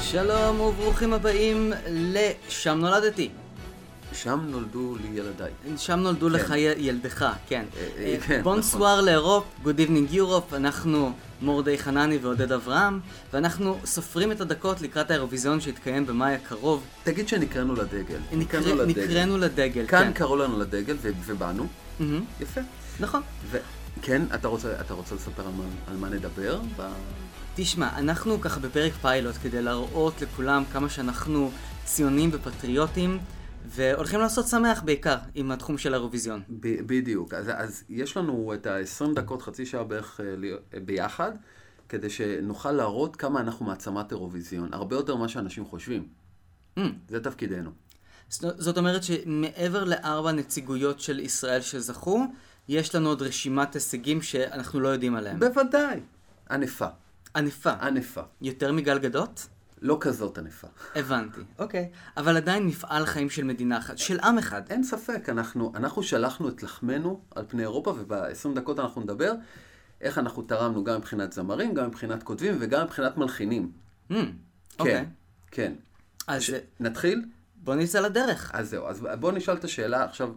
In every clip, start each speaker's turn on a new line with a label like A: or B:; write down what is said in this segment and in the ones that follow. A: שלום וברוכים הבאים ל"שם נולדתי".
B: שם נולדו לי ילדיי.
A: שם נולדו לך
B: כן.
A: יל- ילדך, כן.
B: אה, אה, כן,
A: בונסואר לאירופ, גוד איבנינג יורופ, אנחנו מורדי חנני ועודד אברהם, ואנחנו סופרים את הדקות לקראת האירוויזיון שיתקיים במאי הקרוב.
B: תגיד שנקראנו לדגל.
A: נקרא- נקראנו לדגל,
B: כאן
A: כן.
B: קראו לנו לדגל ו- ובאנו.
A: מהמם,
B: יפה.
A: נכון.
B: וכן, אתה רוצה, אתה רוצה לספר על מה, על מה נדבר? ב...
A: תשמע, אנחנו ככה בפרק פיילוט כדי להראות לכולם כמה שאנחנו ציונים ופטריוטים, והולכים לעשות שמח בעיקר עם התחום של האירוויזיון.
B: ב- בדיוק. אז, אז יש לנו את ה-20 דקות, חצי שעה בערך אה, להיות- אה, ביחד, כדי שנוכל להראות כמה אנחנו מעצמת אירוויזיון. הרבה יותר ממה שאנשים חושבים.
A: Mm.
B: זה תפקידנו.
A: זאת זאת אומרת שמעבר לארבע נציגויות של ישראל שזכו, יש לנו עוד רשימת הישגים שאנחנו לא יודעים עליהם.
B: בוודאי. ענפה.
A: ענפה.
B: ענפה.
A: יותר מגל גדות?
B: לא כזאת ענפה.
A: הבנתי. אוקיי. אבל עדיין מפעל חיים של מדינה אחת, של עם אחד.
B: אין ספק, אנחנו, אנחנו שלחנו את לחמנו על פני אירופה, וב-20 דקות אנחנו נדבר איך אנחנו תרמנו גם מבחינת זמרים, גם מבחינת כותבים וגם מבחינת מלחינים.
A: Hmm,
B: כן,
A: אוקיי.
B: כן.
A: אז
B: ש... נתחיל?
A: בוא נצא לדרך.
B: אז זהו, אז בואו נשאל את השאלה, עכשיו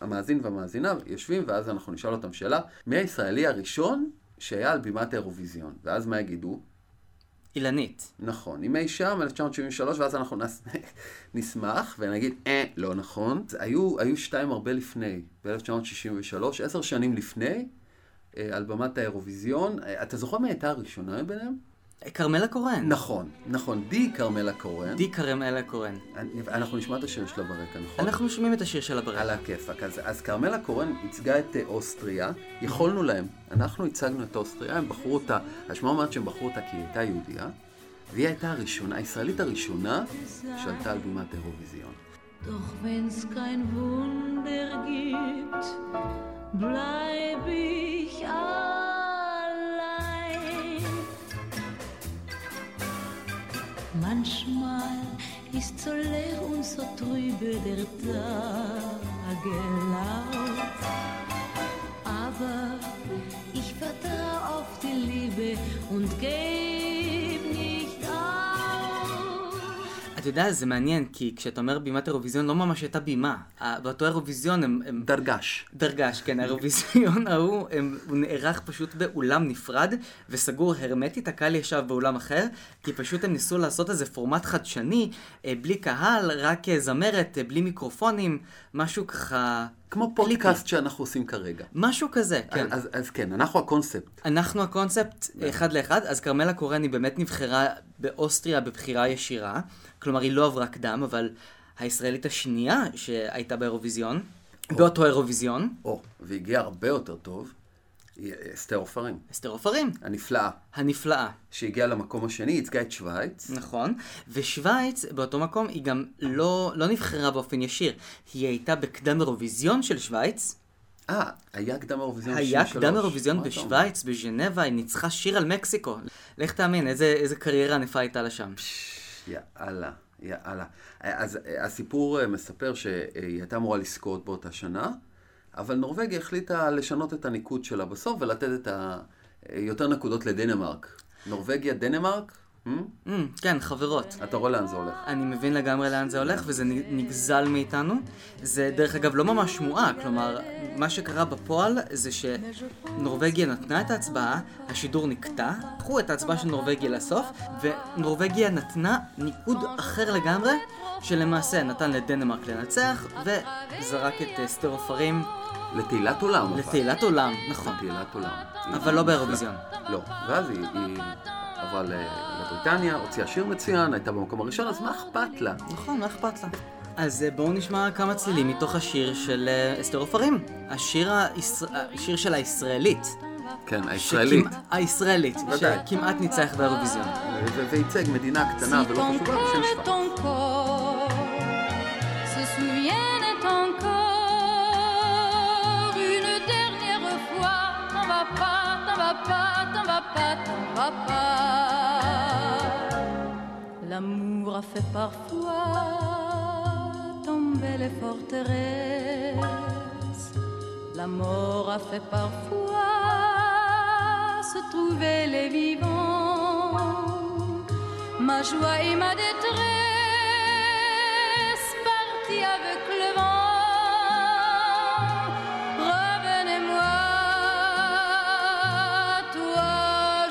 B: המאזין והמאזינה יושבים, ואז אנחנו נשאל אותם שאלה, מי הישראלי הראשון שהיה על בימת האירוויזיון? ואז מה יגידו?
A: אילנית.
B: נכון, אם אי שם, 1973, ואז אנחנו נס... נשמח ונגיד, אה, לא נכון. אז היו, היו שתיים הרבה לפני, ב-1963, עשר שנים לפני, אה, על במת האירוויזיון. אה, אתה זוכר מי הייתה הראשונה ביניהם?
A: כרמלה קורן.
B: נכון, נכון, די כרמלה קורן.
A: די כרמלה קורן.
B: אני- אנחנו נשמע את השיר שלה ברקע, נכון?
A: אנחנו שומעים את השיר שלה
B: על
A: ברקע.
B: הכיפאק. אז, אז כרמלה קורן ייצגה את אה, אוסטריה, יכולנו להם. אנחנו ייצגנו את אוסטריה, הם בחרו אותה, השמעה אומרת שהם בחרו אותה כי היא הייתה יהודייה, והיא הייתה הראשונה, הישראלית הראשונה, שעלתה על בימת האירוויזיון.
C: Doch wenn's kein Wunder gibt, bleib ich allein. Manchmal ist so leer und so trübe der Tagelauf. Aber ich vertraue auf die Liebe und geb nicht auf.
A: אתה יודע, זה מעניין, כי כשאתה אומר בימת אירוויזיון, לא ממש הייתה בימה. ה- באותו אירוויזיון הם... הם-
B: דרגש.
A: דרגש, כן, האירוויזיון ההוא, הם, הוא נערך פשוט באולם נפרד וסגור הרמטית, הקהל ישב באולם אחר, כי פשוט הם ניסו לעשות איזה פורמט חדשני, אה, בלי קהל, רק אה, זמרת, אה, בלי מיקרופונים, משהו ככה...
B: כמו
A: קליפי.
B: פודקאסט שאנחנו עושים כרגע.
A: משהו כזה, כן.
B: כן. אז, אז כן, אנחנו הקונספט.
A: אנחנו הקונספט אחד לאחד, אז כרמלה קורן היא באמת נבחרה באוסטריה בבחירה ישירה, כלומר היא לא עברה קדם, אבל הישראלית השנייה שהייתה באירוויזיון, באותו אירוויזיון,
B: או, והגיע הרבה יותר טוב, היא אה, אסתר עופרים,
A: אסתר עופרים,
B: הנפלאה,
A: הנפלאה.
B: שהגיעה למקום השני, ייצגה את שווייץ.
A: נכון, ושווייץ באותו מקום היא גם לא, לא נבחרה באופן ישיר, היא הייתה בקדם אירוויזיון של שווייץ,
B: אה, היה קדם אירוויזיון
A: היה
B: 63.
A: קדם אירוויזיון
B: מה אתה אומר?
A: בשוויץ, בז'נבה, היא ניצחה שיר על מקסיקו. לך תאמין, איזה, איזה קריירה ענפה הייתה לה שם.
B: יאללה, יאללה. אז אה, הסיפור אה, מספר שהיא הייתה אמורה לזכות באותה שנה, אבל נורבגיה החליטה לשנות את הניקוד שלה בסוף ולתת את ה... אה, יותר נקודות לדנמרק. נורבגיה, דנמרק? Hmm?
A: Mm, כן, חברות.
B: אתה רואה לאן זה הולך.
A: אני מבין לגמרי לאן זה הולך, וזה נ- נגזל מאיתנו. זה דרך אגב לא ממש שמועה, כלומר, מה שקרה בפועל זה שנורבגיה נתנה את ההצבעה, השידור נקטע, לקחו את ההצבעה של נורבגיה לסוף, ונורבגיה נתנה ניקוד אחר לגמרי, שלמעשה נתן לדנמרק לנצח, וזרק את אה, סטר עופרים
B: לתהילת עולם. אבל.
A: לתהילת עולם, נכון.
B: לתהילת עולם.
A: אבל לא באירוויזיון.
B: לא. ואז היא היא עברה ל- לבריטניה, הוציאה שיר מצוין, הייתה במקום הראשון, אז מה אכפת לה?
A: נכון, מה אכפת לה? אז אה, בואו נשמע כמה צלילים מתוך השיר של אה, אסתר עופרים, השיר, הישר... השיר של הישראלית.
B: כן, הישראלית.
A: שכמע- הישראלית,
B: ודאי.
A: אה, שכמעט ניצח באירוויזיון.
B: ו- והייצג מדינה
C: Si
B: קטנה
C: ton
B: ולא חשובה בשם
C: corps et
B: שווייץ.
C: ton corps se souviennent encore une dernière fois, t'en vas pas, t'en vas pas, t'en vas pas, t'en vas pas. L'amour a fait parfois tomber les forteresses. La mort a fait parfois se trouver les vivants. ma joie et ma détresse, partis avec le vent. Revenez-moi, toi,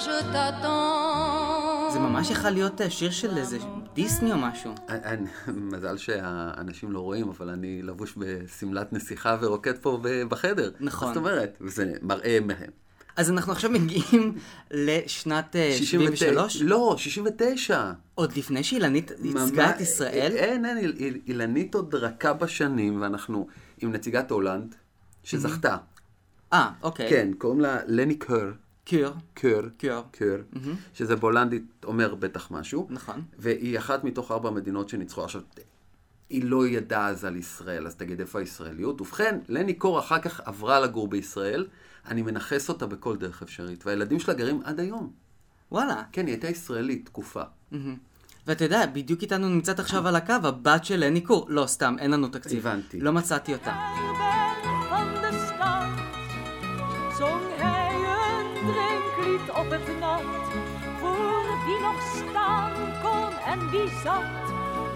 C: je t'attends.
A: זה ממש יכול להיות אה, שיר של איזה דיסני או משהו.
B: אני- מזל שהאנשים לא רואים, אבל אני לבוש בשמלת נסיכה ורוקד פה ב- בחדר.
A: נכון.
B: זאת אומרת, וזה מראה מהם.
A: אז אנחנו עכשיו מגיעים לשנת אה, 73,
B: לא, 69.
A: עוד לפני שאילנית ייצגה
B: ממש-
A: את ישראל.
B: אין, אין, איל- איל- אילנית עוד רכה בשנים, ואנחנו עם נציגת הולנד, שזכתה.
A: אה, אוקיי.
B: כן, קוראים לה לני קר,
A: קיור.
B: קר,
A: קר.
B: קר, שזה בהולנדית אומר בטח משהו.
A: נכון.
B: והיא אחת מתוך ארבע מדינות שניצחו. עכשיו, היא לא ידעה אז על ישראל, אז תגיד איפה הישראליות. ובכן, לני קור אחר כך עברה לגור בישראל, אני מנכס אותה בכל דרך אפשרית, והילדים שלה גרים עד היום.
A: וואלה.
B: כן, היא הייתה ישראלית תקופה.
A: מהמם. ואתה יודע, בדיוק איתנו נמצאת עכשיו על הקו הבת של לני קור. לא, סתם, אין לנו תקציב.
B: הבנתי.
A: לא מצאתי אותה.
D: Herberg van de stad zong hij een drinklied op het nat. Voor wie nog staan kon en wie zat,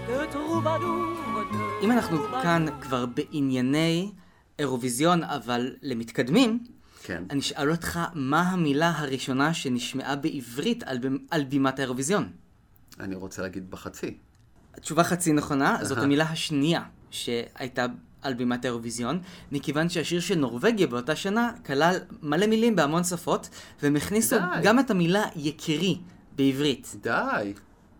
D: de troubadour. de
A: אם אנחנו
D: troubadour.
A: כאן כבר בענייני אירוויזיון, אבל למתקדמים,
B: כן.
A: אני אשאל אותך מה המילה הראשונה שנשמעה בעברית על, במ- על בימת האירוויזיון.
B: אני רוצה להגיד בחצי.
A: התשובה חצי נכונה, זאת
B: אהה.
A: המילה השנייה שהייתה על בימת האירוויזיון, מכיוון שהשיר של נורבגיה באותה שנה כלל מלא מילים בהמון שפות, והם הכניסו
B: די.
A: גם את המילה יקירי בעברית.
B: די.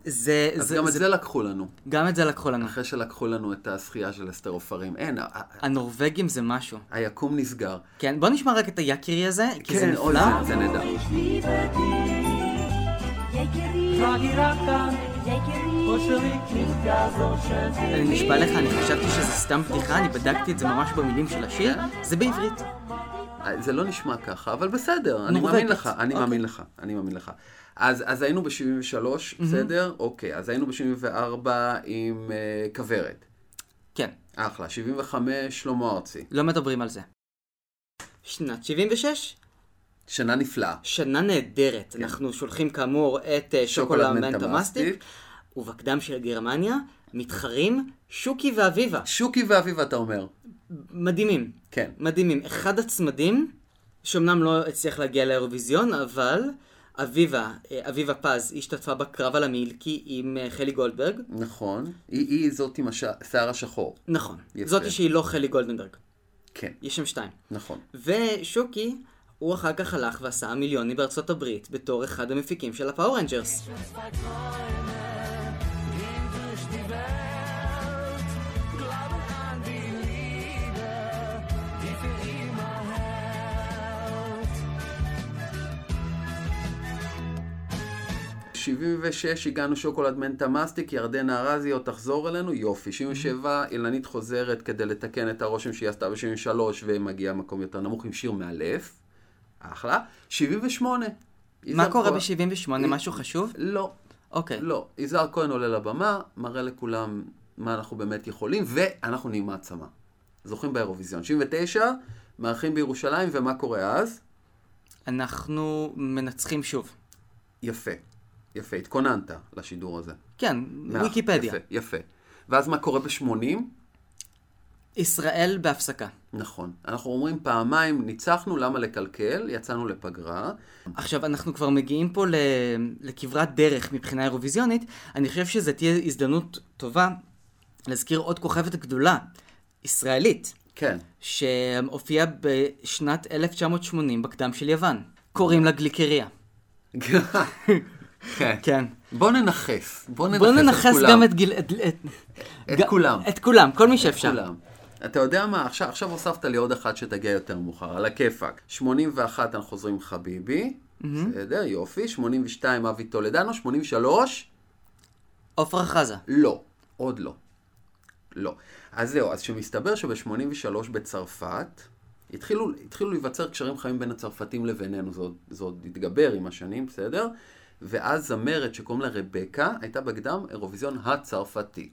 A: זה,
B: אז
A: זה,
B: גם את
A: זה,
B: זה אוקיי. לקחו לנו.
A: גם את זה לקחו לנו.
B: אחרי שלקחו לנו את הזכייה של אסתר עופרים. אין, ה- ה-
A: הנורבגים זה משהו.
B: היקום נסגר.
A: כן, בוא נשמע רק את היקירי הזה, כי זה
B: כן, אוי,
A: נפלא.
B: זה- זה נהדר.
E: Ich liebe dich, יקירי, יקירי,
A: אני נשבע לך, אני חשבתי שזה סתם בדיחה, אני בדקתי את זה ממש במילים של השיר,
B: כן.
A: זה בעברית.
B: אה, זה לא נשמע ככה, אבל בסדר, אני
A: נורבגית.
B: מאמין לך, אני
A: אוקיי.
B: מאמין לך, אני מאמין לך. אז, אז היינו ב-73, בסדר? אוקיי, אז היינו ב-74 עם אה, כוורת.
A: כן,
B: אחלה, 75, שלמה ארצי.
A: לא מדברים על זה. שנת 76,
B: שנה נפלאה.
A: שנה נהדרת. כן. אנחנו שולחים כאמור את אה, שוקולה
B: שוקולד
A: מנטה
B: מנטה
A: מסטיק, ובקדם של גרמניה מתחרים שוקי ואביבה.
B: שוקי ואביבה, אתה אומר.
A: מדהימים.
B: כן.
A: מדהימים. אחד הצמדים, שאומנם לא הצליח להגיע לאירוויזיון, אבל אביבה, אה, אביבה פז, היא השתתפה בקרב על המילקי עם אה, חלי גולדברג.
B: נכון. היא, היא זאת עם השיער השחור.
A: נכון.
B: יפה.
A: זאתי שהיא לא חלי גולדנברג.
B: כן,
A: יש שם שתיים.
B: נכון.
A: ושוקי, הוא אחר כך הלך ועשה מיליוני בארצות הברית בתור אחד המפיקים של הפאור רנג'רס.
B: ב-76 הגענו שוקולד מנטה מסטיק, ירדנה ארזי עוד תחזור אלינו, יופי. 77,
A: Mm-hmm.
B: אילנית חוזרת כדי לתקן את הרושם שהיא עשתה ב-73 ומגיעה מקום יותר נמוך עם שיר מאלף, אחלה. 78.
A: מה
B: יזהר
A: קורה
B: כהן-
A: ב-78? משהו חשוב?
B: לא,
A: אוקיי.
B: לא. יזהר כהן עולה לבמה, מראה לכולם מה אנחנו באמת יכולים, ואנחנו נהיים מעצמה. זוכים באירוויזיון. 79, מארחים בירושלים, ומה קורה אז?
A: אנחנו מנצחים שוב.
B: יפה. יפה, התכוננת לשידור הזה.
A: כן,
B: מאה,
A: ויקיפדיה.
B: יפה, אה, יפה. ואז מה קורה ב-80?
A: ישראל בהפסקה.
B: נכון. אנחנו אומרים פעמיים, ניצחנו, למה לקלקל? יצאנו לפגרה.
A: עכשיו, אנחנו כבר מגיעים פה ל... לכברת דרך מבחינה אירוויזיונית. אני חושב שזו תהיה הזדמנות טובה להזכיר עוד כוכבת גדולה, ישראלית,
B: כן.
A: שהופיעה בשנת 1980 בקדם של יוון. קוראים לה גליקריה.
B: כן.
A: כן.
B: בוא ננכס. בוא ננכס,
A: בואו ננכס
B: את כולם.
A: גם את גיל... את, את...
B: את
A: ג-
B: כולם.
A: את כולם, כל מי שאפשר.
B: כולם. אתה יודע מה, עכשיו, עכשיו הוספת לי עוד אחת שתגיע יותר מאוחר, על הכיפאק. 81, אנחנו חוזרים עם חביבי. בסדר, יופי. 82, אבי טולדנו. 83,
A: עפרה חזה.
B: לא. עוד לא. לא. אז זהו, אז שמסתבר שב-83 בצרפת, התחילו, התחילו להיווצר קשרים חמים בין הצרפתים לבינינו, זה עוד, זה עוד התגבר עם השנים, בסדר? ואז זמרת שקוראים לה רבקה, הייתה בקדם אירוויזיון הצרפתי.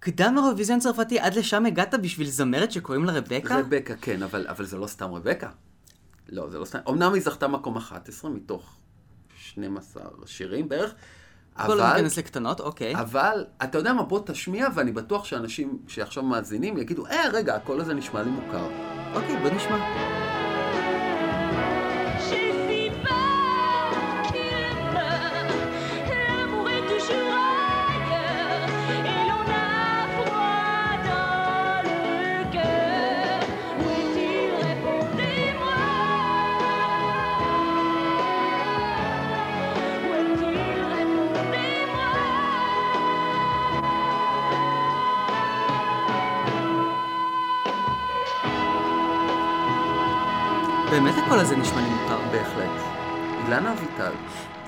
A: קדם אירוויזיון צרפתי, עד לשם הגעת בשביל זמרת שקוראים לה רבקה?
B: רבקה, כן, אבל, אבל זה לא סתם רבקה. לא, זה לא סתם. אמנם היא זכתה מקום 11 מתוך 12 שירים בערך,
A: בוא לא
B: אבל-
A: ניכנס לקטנות, אוקיי.
B: אבל, אתה יודע מה, בוא תשמיע, ואני בטוח שאנשים שעכשיו מאזינים יגידו, אה, רגע, הקול הזה נשמע לי מוכר.
A: אוקיי, בוא נשמע.
F: J'ai si peur qu'il meure. L'amour est toujours ailleurs et l'on a froid dans le cœur. Où est-il Répondez-moi. Où est-il Répondez-moi.
A: באמת הקול הזה נשמע לי מוכר.
B: בהחלט. אילנה אביטל.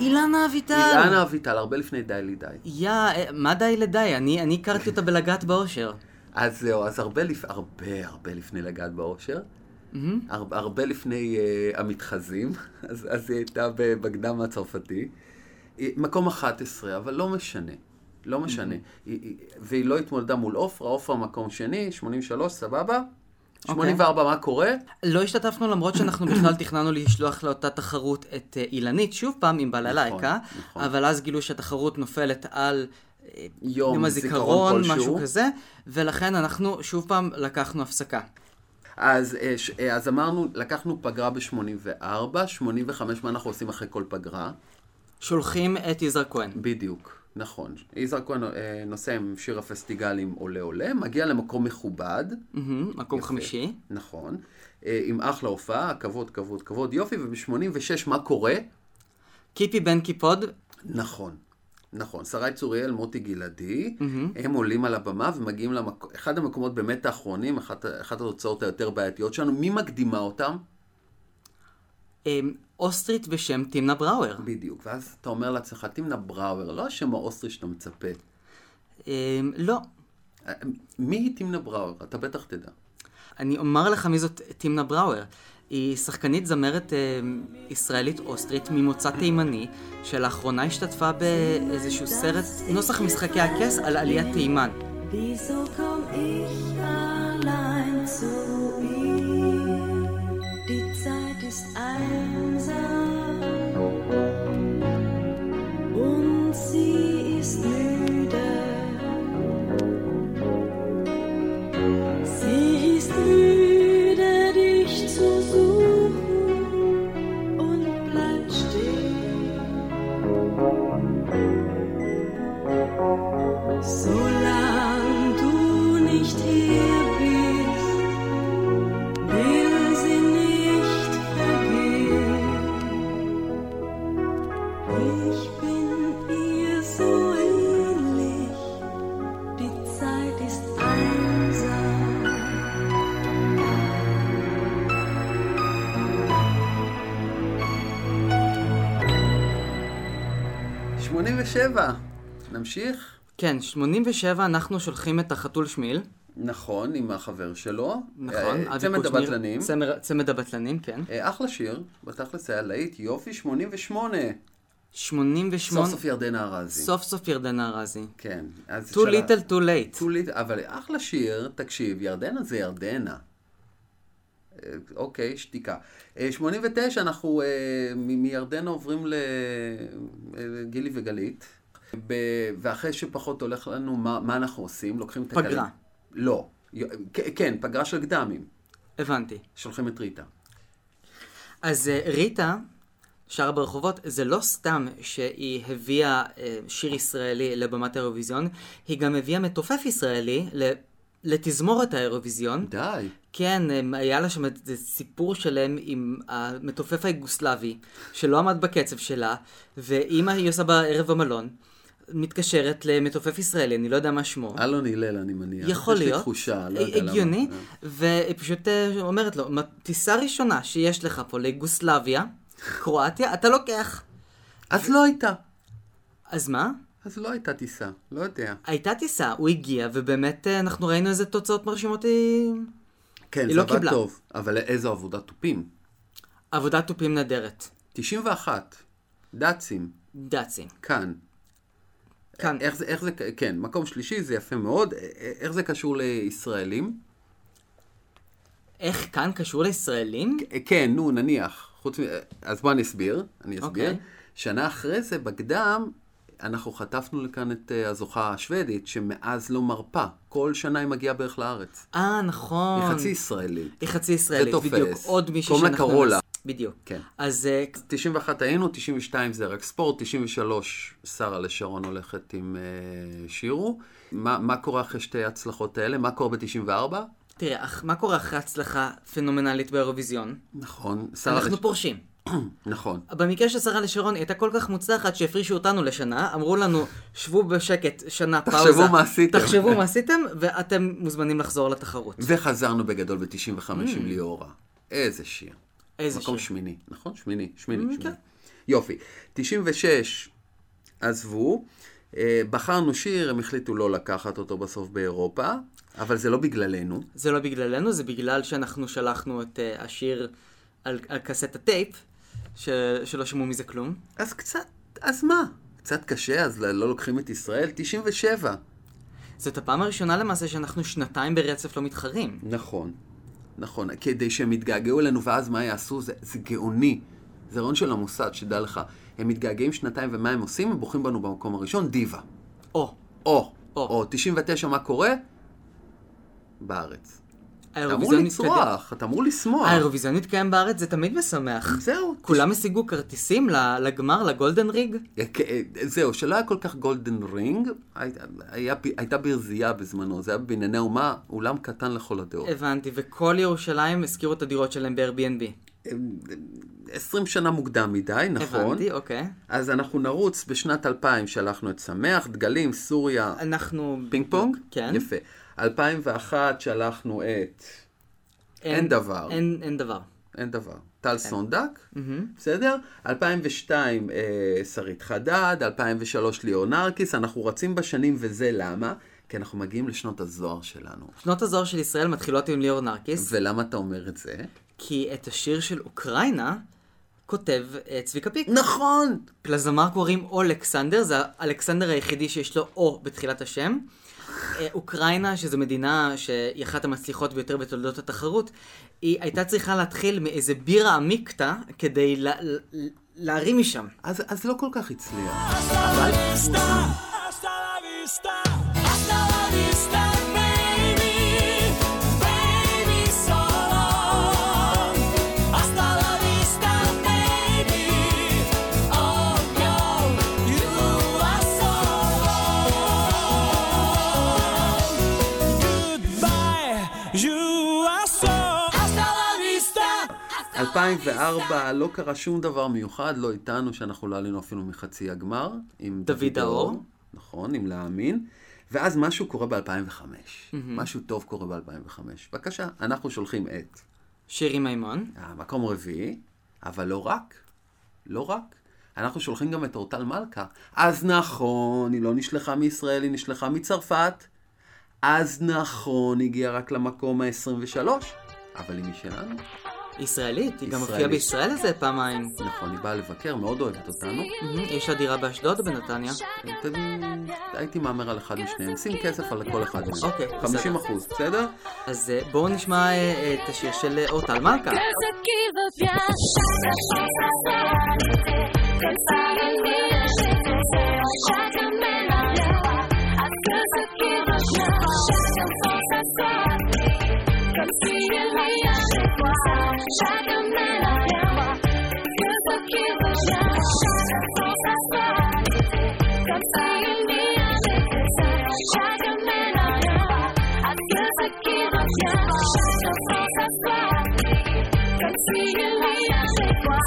A: אילנה אביטל!
B: אילנה אביטל, הרבה לפני די לי די.
A: יא, אה, מה די לדי? אני אני הכרתי אותה בלגעת באושר.
B: אז זהו, אז הרבה, לפ... הרבה, הרבה לפני לגעת באושר.
A: מהמם.
B: הרבה, הרבה לפני uh, המתחזים, אז, אז היא הייתה ב- בקדם הצרפתי. היא- מקום 11, אבל לא משנה. לא משנה. היא, היא, והיא לא התמודדה מול עופרה, עופרה מקום שני, 83, סבבה? 84, מה קורה?
A: לא השתתפנו למרות שאנחנו בכלל תכננו לשלוח לאותה תחרות את אה, אילנית, שוב פעם עם בעלי
B: נכון,
A: להקה,
B: נכון.
A: אה? אבל אז גילו שהתחרות נופלת על אה,
B: יום זיכרון
A: הזיכרון, משהו
B: כלשהו.
A: כזה, ולכן אנחנו שוב פעם לקחנו הפסקה.
B: אז, אה, ש- אה, אז אמרנו, לקחנו פגרה ב-84, 85, מה אנחנו עושים אחרי כל פגרה?
A: שולחים את יזהר כהן.
B: בדיוק, נכון. יזהר כהן אה, נוסע עם שיר הפסטיגלים עולה עולה, מגיע למקום מכובד.
A: מהמם, מקום
B: יפה.
A: חמישי.
B: נכון. אה, עם אחלה הופעה, כבוד, כבוד, כבוד, יופי, וב-86 מה קורה?
A: קיפי בן קיפוד,
B: נכון. נכון, שרי צוריאל, מוטי גלעדי,
A: Mm-hmm.
B: הם עולים על הבמה ומגיעים למקום, אחד המקומות באמת האחרונים, אחת, אחת התוצאות היותר בעייתיות שלנו, מי מקדימה אותם?
A: אה, אוסטרית בשם טימנה בראואר.
B: בדיוק, ואז אתה אומר לעצמך, טימנה בראואר, לא השם האוסטרי שאתה מצפה.
A: אה, לא.
B: אה, מי היא טימנה בראואר? אתה בטח תדע.
A: אני אומר לך מי זאת טימנה בראואר. היא שחקנית זמרת אה, ישראלית אוסטרית ממוצא תימני, שלאחרונה השתתפה באיזשהו סרט, נוסח משחקי הכס על עליית תימן.
C: Wieso komm ich allein zu ihr? Die Zeit ist einsam und sie ist müde. Sie ist müde, dich zu suchen und bleibt stehen. Solange du nicht hier bist, will sie nicht vergehen. Ich bin ihr so ähnlich, die Zeit ist einsam.
B: שמונים ושבע. נמשיך?
A: כן, 87 אנחנו שולחים את החתול שמיל.
B: נכון, עם החבר שלו.
A: נכון,
B: אה, צמד
A: קושניר,
B: הבטלנים.
A: צמר- צמד הבטלנים, כן.
B: אה, אחלה שיר, בתכלס היה להיט, יופי, 88.
A: 88,
B: סוף סוף ירדנה ארזי.
A: סוף סוף ירדנה ארזי.
B: כן. אז
A: too
B: שאלה-
A: little too late.
B: too little, אבל אחלה שיר, תקשיב, ירדנה זה ירדנה. אה, אוקיי, שתיקה. אה, 89, אנחנו אה, מ- מירדנה עוברים לגילי וגלית, ב- ואחרי שפחות הולך לנו, מה מה אנחנו עושים? לוקחים את
A: פגרה.
B: הקרים. לא. י- כ- כן, פגרה של גדמים.
A: הבנתי.
B: שולחים את ריטה.
A: אז אה, ריטה שרה ברחובות, זה לא סתם שהיא הביאה אה, שיר ישראלי לבמת האירוויזיון, היא גם הביאה מתופף ישראלי ל- לתזמורת האירוויזיון.
B: די.
A: כן, הם- היה לה שם איזה סיפור שלם עם המתופף היוגוסלבי, שלא עמד בקצב שלה, ואימא היא עושה בערב המלון, מתקשרת למתופף ישראלי, אני לא יודע מה שמו.
B: אלון הלל, אה, אני מניח.
A: יכול
B: יש
A: להיות.
B: לי תחושה, לא יודע למה.
A: הגיוני,
B: אה.
A: והיא פשוט אה, אומרת לו, "מה- טיסה ראשונה שיש לך פה ליוגוסלביה, קרואטיה, אתה לוקח.
B: אז לא הייתה.
A: אז מה?
B: אז לא הייתה טיסה, לא יודע.
A: הייתה טיסה, הוא הגיע, ובאמת אה, אנחנו ראינו איזה תוצאות מרשימות אה, היא...
B: כן,
A: היא
B: זה
A: לא
B: עבד
A: קיבלה.
B: טוב. אבל איזו עבודת תופים.
A: עבודת תופים נהדרת.
B: 91, דאצים,
A: דאצים.
B: כאן.
A: כאן.
B: איך זה, איך זה, כן, מקום שלישי, זה יפה מאוד. א- א- איך זה קשור לישראלים?
A: איך כאן קשור לישראלים?
B: אה, כן, נו, נניח. חוץ מ... אה, אז בוא אני אסביר, אני אסביר.
A: אוקיי.
B: שנה אחרי זה, בקדם, אנחנו חטפנו לכאן את אה, הזוכה השוודית, שמאז לא מרפה. כל שנה היא מגיעה בערך לארץ.
A: אה, נכון.
B: היא חצי ישראלית.
A: היא חצי ישראלית,
B: תופס.
A: בדיוק. עוד מישהי
B: קוראים לה קרולה.
A: בדיוק.
B: כן.
A: אז אה,
B: 91 היינו, 92 זה רק ספורט, 93 שרה לשרון הולכת עם אה, שירו. מה, מה קורה אחרי שתי ההצלחות האלה? מה קורה ב-94?
A: תראה, אך- מה קורה אחרי הצלחה פנומנלית באירוויזיון?
B: נכון, שרה
A: אנחנו
B: לש-
A: פורשים.
B: נכון.
A: במקרה של שרה לשרון, היא הייתה כל כך מוצלחת שהפרישו אותנו לשנה, אמרו לנו, שבו בשקט שנה
B: תחשבו
A: פאוזה.
B: מה עשיתם."
A: תחשבו מה עשיתם, ואתם מוזמנים לחזור לתחרות.
B: וחזרנו בגדול ב-95 עם ליאורה. איזה שיר.
A: Mm. איזה שיר.
B: מקום
A: Mm, כן.
B: שמיני, נכון? שמיני, שמיני, שמיני. יופי. 96 עזבו, אה, בחרנו שיר, הם החליטו לא לקחת אותו בסוף באירופה, אבל זה לא בגללנו.
A: זה לא בגללנו, זה בגלל שאנחנו שלחנו את אה, השיר על על קסט הטייפ, ש- שלא שמעו מזה כלום.
B: אז קצת, אז מה? קצת קשה, אז לא לוקחים את ישראל? 97.
A: זאת הפעם הראשונה למעשה שאנחנו שנתיים ברצף לא מתחרים.
B: נכון, נכון. כדי שהם יתגעגעו אלינו, ואז מה יעשו? זה, זה גאוני. זה רעיון של המוסד, שדע לך. הם מתגעגעים שנתיים, ומה הם עושים? הם בוחרים בנו במקום הראשון, דיווה.
A: או,
B: או,
A: או.
B: או, או 99, מה קורה? בארץ. אתה אמור
A: האירוויזיון מתקדם.
B: לצרוח, אתה אמור לשמוח.
A: האירוויזיון מתקיים בארץ, זה תמיד משמח.
B: זהו.
A: כולם השיגו כרטיסים ל- לגמר, לגולדן ריג?
B: אה, זהו, שלא היה כל כך גולדן רינג, הייתה- היה פ- הייתה ברזייה בזמנו, זה היה בבנייני אומה, אולם קטן לכל הדעות.
A: הבנתי, וכל ירושלים השכירו את הדירות שלהם ב-Airbnb.
B: 20 שנה מוקדם מדי, נכון.
A: הבנתי, אוקיי.
B: אז אנחנו נרוץ, בשנת 2000 שלחנו את שמח, דגלים, סוריה,
A: אנחנו...
B: פינג פונג?
A: כן.
B: יפה. 2001 שלחנו את... אין דבר.
A: אין, אין דבר.
B: אין דבר.
A: כן.
B: טל סונדק, בסדר? 2002 אה, שרית חדד, 2003 ליאור נרקיס, אנחנו רצים בשנים וזה למה? כי אנחנו מגיעים לשנות הזוהר שלנו.
A: שנות הזוהר של ישראל מתחילות עם ליאור נרקיס,
B: ולמה אתה אומר את זה?
A: כי את השיר של אוקראינה כותב אה, צביקה פיק.
B: נכון!
A: לזמר קוראים אולכסנדר, זה האלכסנדר היחידי שיש לו או בתחילת השם. אה, אוקראינה, שזו מדינה שהיא אחת המצליחות ביותר בתולדות התחרות, היא הייתה צריכה להתחיל מאיזה בירה עמיקתא כדי לה, לה, להרים משם.
B: אז, אז לא כל כך הצליח.
G: Hasta la vista. Hasta la vista, baby. Baby, so long. Hasta la vista, baby. Oh, girl, you are so long. Goodbye, you are so. Hasta la vista.
B: 2004 לא קרה שום דבר מיוחד, לא איתנו, שאנחנו לא עלינו אפילו מחצי הגמר, עם
A: דוד האור.
B: נכון, עם להאמין. ואז משהו קורה ב-2005. משהו טוב קורה ב-2005. בבקשה, אנחנו שולחים את
A: שירי מימון,
B: המקום רביעי, אבל לא רק, לא רק. אנחנו שולחים גם את אורטל מלכה. אז נכון, היא לא נשלחה מישראל, היא נשלחה מצרפת. אז נכון, היא הגיעה רק למקום ה-23, אבל היא משלנו.
A: ישראלית, היא גם הופיעה
B: ישראלית.
A: בישראל איזה פעמיים.
B: נכון, היא באה לבקר, מאוד אוהבת אותנו.
A: מהמם, יש לה דירה באשדוד או בנתניה?
B: אתה- הייתי מהמר על אחד משניהם. שים כסף על כל אחד מהם.
A: אוקיי,
B: 50 אחוז, בסדר?
A: אז אה, בואו נשמע אה, אה, את השיר של אה, אורטל מלכה.
C: Que ce qui veut bien, chaque chose a sa réalité. Que ça réunit chez nous, chacun mène la mienne. À ce que ce qui veut bien, chacun pense à soi. Comme s'il est rien chez toi, chacun mène la mienne. Que ce qui veut bien, chacun pense à soi. Comme s'il est rien chez toi, chacun mène la mienne. À ce que ce qui veut bien, chacun pense à soi. Comme si le meilleur chez toi,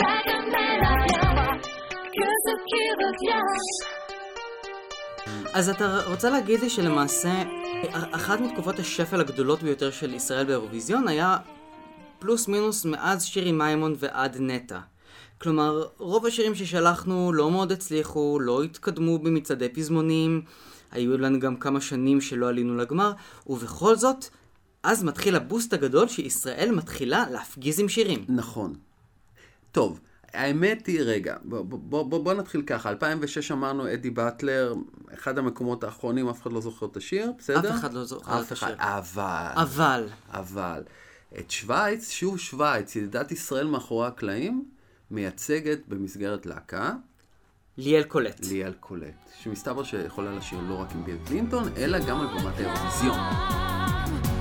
C: jamais la viendra que ce qui revient.
A: אז אתה רוצה להגיד לי שלמעשה, אחת מתקופות השפל הגדולות ביותר של ישראל באירוויזיון היה פלוס מינוס מאז שירי מימון ועד נטע. כלומר, רוב השירים ששלחנו לא מאוד הצליחו, לא התקדמו במצעדי פזמונים, היו לנו גם כמה שנים שלא עלינו לגמר, ובכל זאת, אז מתחיל הבוסט הגדול שישראל מתחילה להפגיז עם שירים.
B: נכון. טוב, האמת היא, רגע, בוא, בוא, בוא, בוא נתחיל ככה. 2006 אמרנו אדי באטלר, אחד המקומות האחרונים, אף אחד לא זוכר את השיר, בסדר?
A: אף אחד לא זוכר
B: אף
A: את
B: אחד,
A: השיר.
B: אבל,
A: אבל,
B: אבל, את שווייץ, שוב שווייץ, ידידת ישראל מאחורי הקלעים, מייצגת במסגרת להקה
A: ליאל קולט.
B: ליאל קולט, שמסתבר שיכולה לשיר לא רק עם ביל קלינטון, אלא גם על במת האירוויזיון.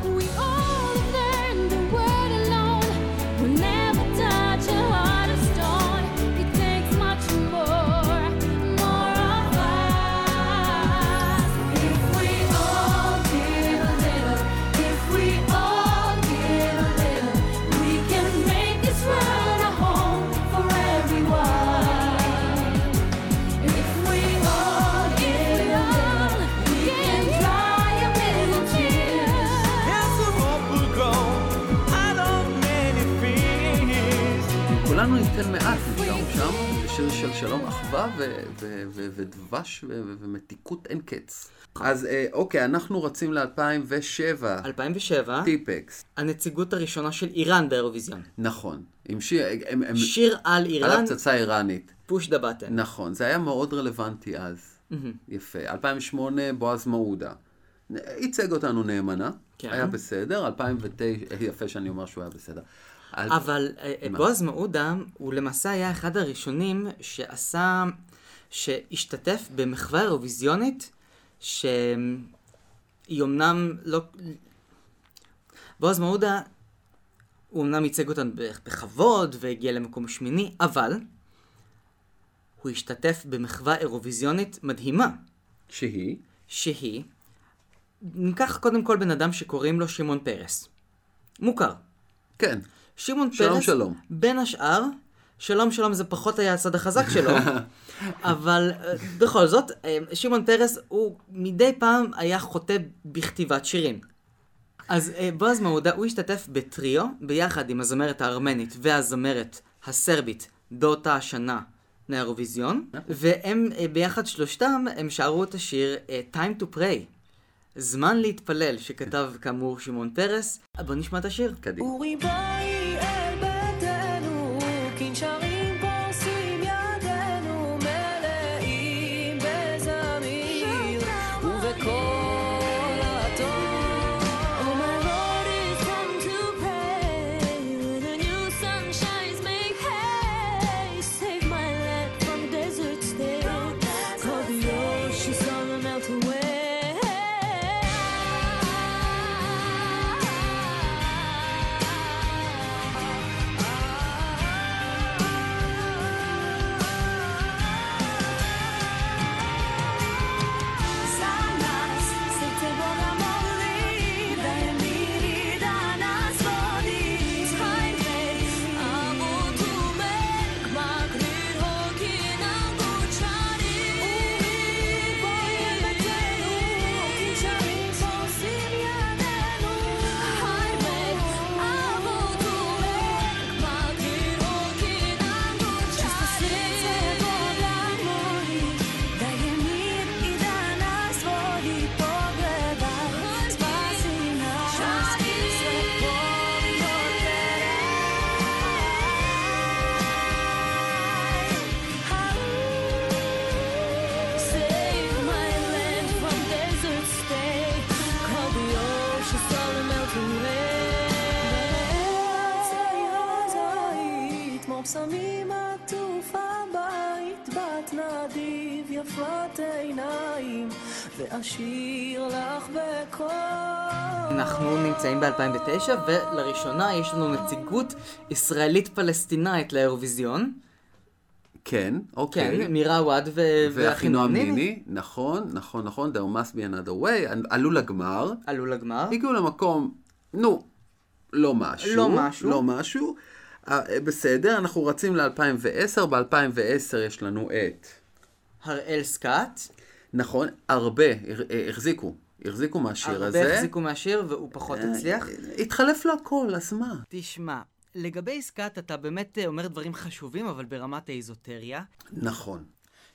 C: We all learn the word alone. We'll never touch a heart of stone. It takes much more, more of us. If we all give a little, if we all give a little, we can make this world a home for everyone. If we all give a little, we can dry a million tears.
G: Yes, the hope will grow out of many fears.
B: אם כולנו ניתן מעט, נשארנו שם, זה שיר של שלום אחווה ו- ו- ו- ודבש ו- ו- ומתיקות אין קץ. אז אה, אוקיי, אנחנו רצים ל-2007,
A: 2007,
B: טיפקס,
A: הנציגות הראשונה של איראן באירוויזיון.
B: נכון, עם שיר, הם, הם,
A: שיר על
B: על
A: איראן,
B: הפצצה האיראנית.
A: פוש דה בטן.
B: נכון, זה היה מאוד רלוונטי אז. יפה. 2008, בועז מעודה. נ- ייצג אותנו נאמנה,
A: כן.
B: היה בסדר. 2009, אה, יפה שאני אומר שהוא היה בסדר. אל-
A: אבל אה, אה,
B: מה?
A: בועז מעודה הוא למעשה היה אחד הראשונים שעשה, שהשתתף במחווה אירוויזיונית, שהיא אמנם לא... בועז מעודה, הוא אמנם ייצג אותנו ב- בכבוד והגיע למקום שמיני, אבל הוא השתתף במחווה אירוויזיונית מדהימה,
B: שהיא,
A: שהיא, ניקח קודם כל בן אדם שקוראים לו שמעון פרס. מוכר.
B: כן,
A: שמעון פרס,
B: שלום, שלום.
A: בין השאר, שלום שלום זה פחות היה הצד החזק שלו, אבל אה, בכל זאת, אה, שמעון פרס הוא מדי פעם היה חוטא בכתיבת שירים. אז אה, בועז מעודה, הוא השתתף בטריו ביחד עם הזמרת הארמנית והזמרת הסרבית באותה השנה מהאירוויזיון, והם אה, ביחד שלושתם, הם שרו את השיר אה, Time to Pray, זמן להתפלל, שכתב כאמור שמעון פרס. בוא נשמע את השיר.
B: קדימה.
F: אורי באי אל ביתנו, כנשרים פורסים ידינו, מלאים בזמיר, ובכל הטוב.
C: Oh, my Lord, it's time to pray. When the new sun shines, make haste. Save my land from desert stains. Call the ocean sun to melt away. Sannas, sitter våra molnin. Vem blir dannas våning? Skyface, amotume, magrir och innan gudshari. Omi, bojen betenu, och kisharin som simjadenu. Highway, amotume, magrir och innan gudshari. Sitter våra molnin. Dajem mir i danas vodi pogleda Spasi nas sve polno Save my land from desert stay Call the ocean sun and melt away
F: כמו פסמים עטוף הבית, בת נדיב יפת עיניים, ואשיר לך בקול.
A: אנחנו נמצאים ב-2009, ולראשונה יש לנו נציגות ישראלית-פלסטינאית לאירוויזיון.
B: כן, אוקיי.
A: כן, מירה עווד ו-
B: והחינום ניני, נכון, נכון, נכון, there must be another way, עלו לגמר,
A: עלו לגמר.
B: הגיעו למקום, נו, לא משהו.
A: לא משהו.
B: לא משהו. אה, בסדר, אנחנו רצים ל-2010, ב-2010 יש לנו את...
A: הראל סקאט.
B: נכון, הרבה הר- אה, החזיקו, החזיקו מהשיר הזה.
A: הרבה החזיקו מהשיר והוא פחות הצליח.
B: אה, התחלף לו הכל, אז מה?
A: תשמע, לגבי סקאט אתה באמת אה, אומר דברים חשובים, אבל ברמת האיזוטריה.
B: נכון.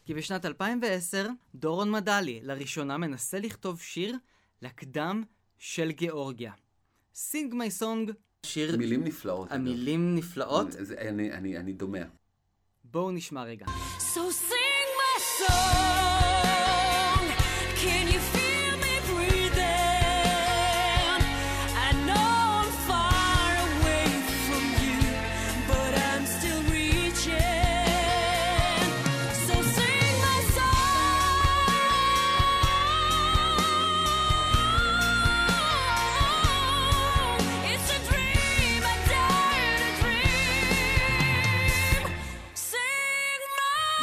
A: כי בשנת 2010, דורון מדלי לראשונה מנסה לכתוב שיר לקדם של גיאורגיה. סינג מי סונג, שיר...
B: מילים אה, נפלאות. אגב.
A: המילים נפלאות.
B: זה- אני- אני אני דומע.
A: בואו נשמע רגע.
C: So sing my song. Can you feel me breathing? I know I'm far away from you, but I'm still reaching. So sing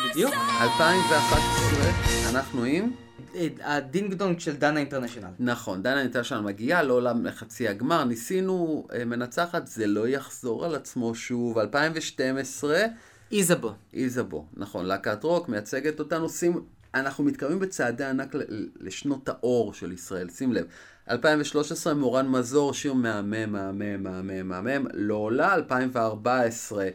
A: בדיוק.
B: 2011, אנחנו עם...
A: אה, הדינג דונג של דנה אינטרנשיונל.
B: נכון, דנה הייתה שם מגיעה לעולם לחצי הגמר, ניסינו אה, מנצחת, זה לא יחזור על עצמו שוב. 2012,
A: איזבו.
B: איזבו, נכון, להקת רוק, מייצגת אותנו, שים, אנחנו מתקרבים בצעדי ענק ל- לשנות האור של ישראל, שים לב. 2013, מורן מזור, שיר מהמם, מהמם, מהמם, מהמם, לא עולה. 2014,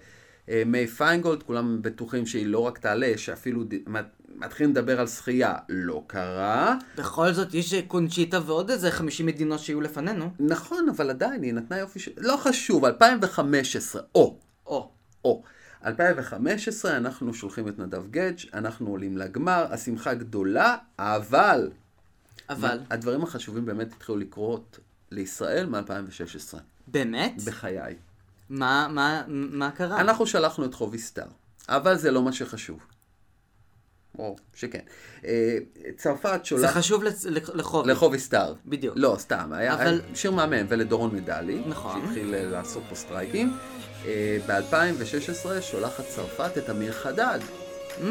B: אה, מיי פיינגולד, כולם בטוחים שהיא לא רק תעלה, שאפילו ד- מת- מתחילים לדבר על שחייה, לא קרה.
A: בכל זאת, יש קונצ'יטה ועוד איזה 50 מדינות שיהיו לפנינו.
B: נכון, אבל עדיין, היא נתנה יופי של... לא חשוב, 2015, או,
A: או,
B: או. 2015, אנחנו שולחים את נדב גדג', אנחנו עולים לגמר, השמחה גדולה, אבל...
A: אבל,
B: הדברים החשובים באמת התחילו לקרות לישראל מ-2016,
A: באמת?
B: בחיי.
A: מה, מה, מה קרה?
B: אנחנו שלחנו את חובי סטאר, אבל זה לא מה שחשוב. או, שכן. אה, צרפת
A: זה
B: שולחת...
A: חשוב לצ- לא- לח- לחוב.
B: לחובי סטאר.
A: אוקיי. בדיוק.
B: לא, סתם. היה
A: אבל-
B: היה שיר מהמם, ולדורון מדלי.
A: נכון.
B: שהתחיל אה, לעשות פה סטרייקים. אה, ב-2016 שולחת צרפת את אמיר חדד.
A: Mm.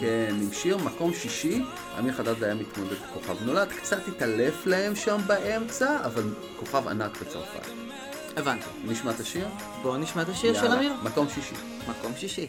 B: כן, עם שיר מקום שישי. אמיר חדד היה מתמודד כוכב נולד. קצת התעלף להם שם באמצע, אבל כוכב ענק בצרפת.
A: הבנתי.
B: נשמע את השיר?
A: בואו נשמע את השיר של
B: יאללה,
A: אמיר.
B: מקום שישי.
A: מקום שישי.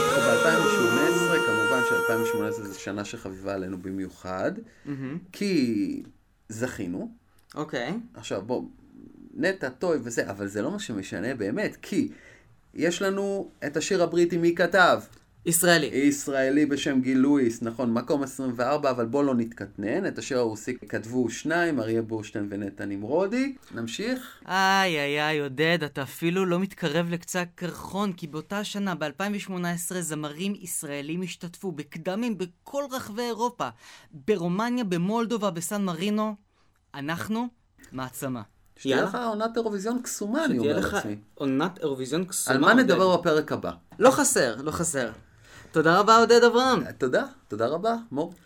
B: ב-2018, כמובן ש-2018 זו שנה שחביבה עלינו במיוחד,
A: Mm-hmm.
B: כי זכינו.
A: אוקיי.
B: עכשיו בוא, נטע, טוי וזה, אבל זה לא מה שמשנה באמת, כי יש לנו את השיר הבריטי מי כתב?
A: ישראלי.
B: ישראלי בשם גיל לואיס, נכון, מקום 24, אבל בוא לא נתקטנן, את השיר הרוסי כתבו שניים, אריה בורשטיין ונטע נמרודי. נמשיך?
A: איי, איי, איי, עודד, אתה אפילו לא מתקרב לקצה הקרחון, כי באותה שנה, ב-2018, זמרים ישראלים השתתפו בקדמים בכל רחבי אירופה, ברומניה, במולדובה, בסן מרינו. אנחנו מעצמה.
B: שתהיה לך עונת אירוויזיון קסומה, אני אומר לעצמי.
A: עונת אירוויזיון
B: על
A: קסומה.
B: מה נדבר בפרק הבא?
A: לא חסר, לא חסר. תודה רבה, עודד אברהם.
B: תודה, תודה רבה, מור.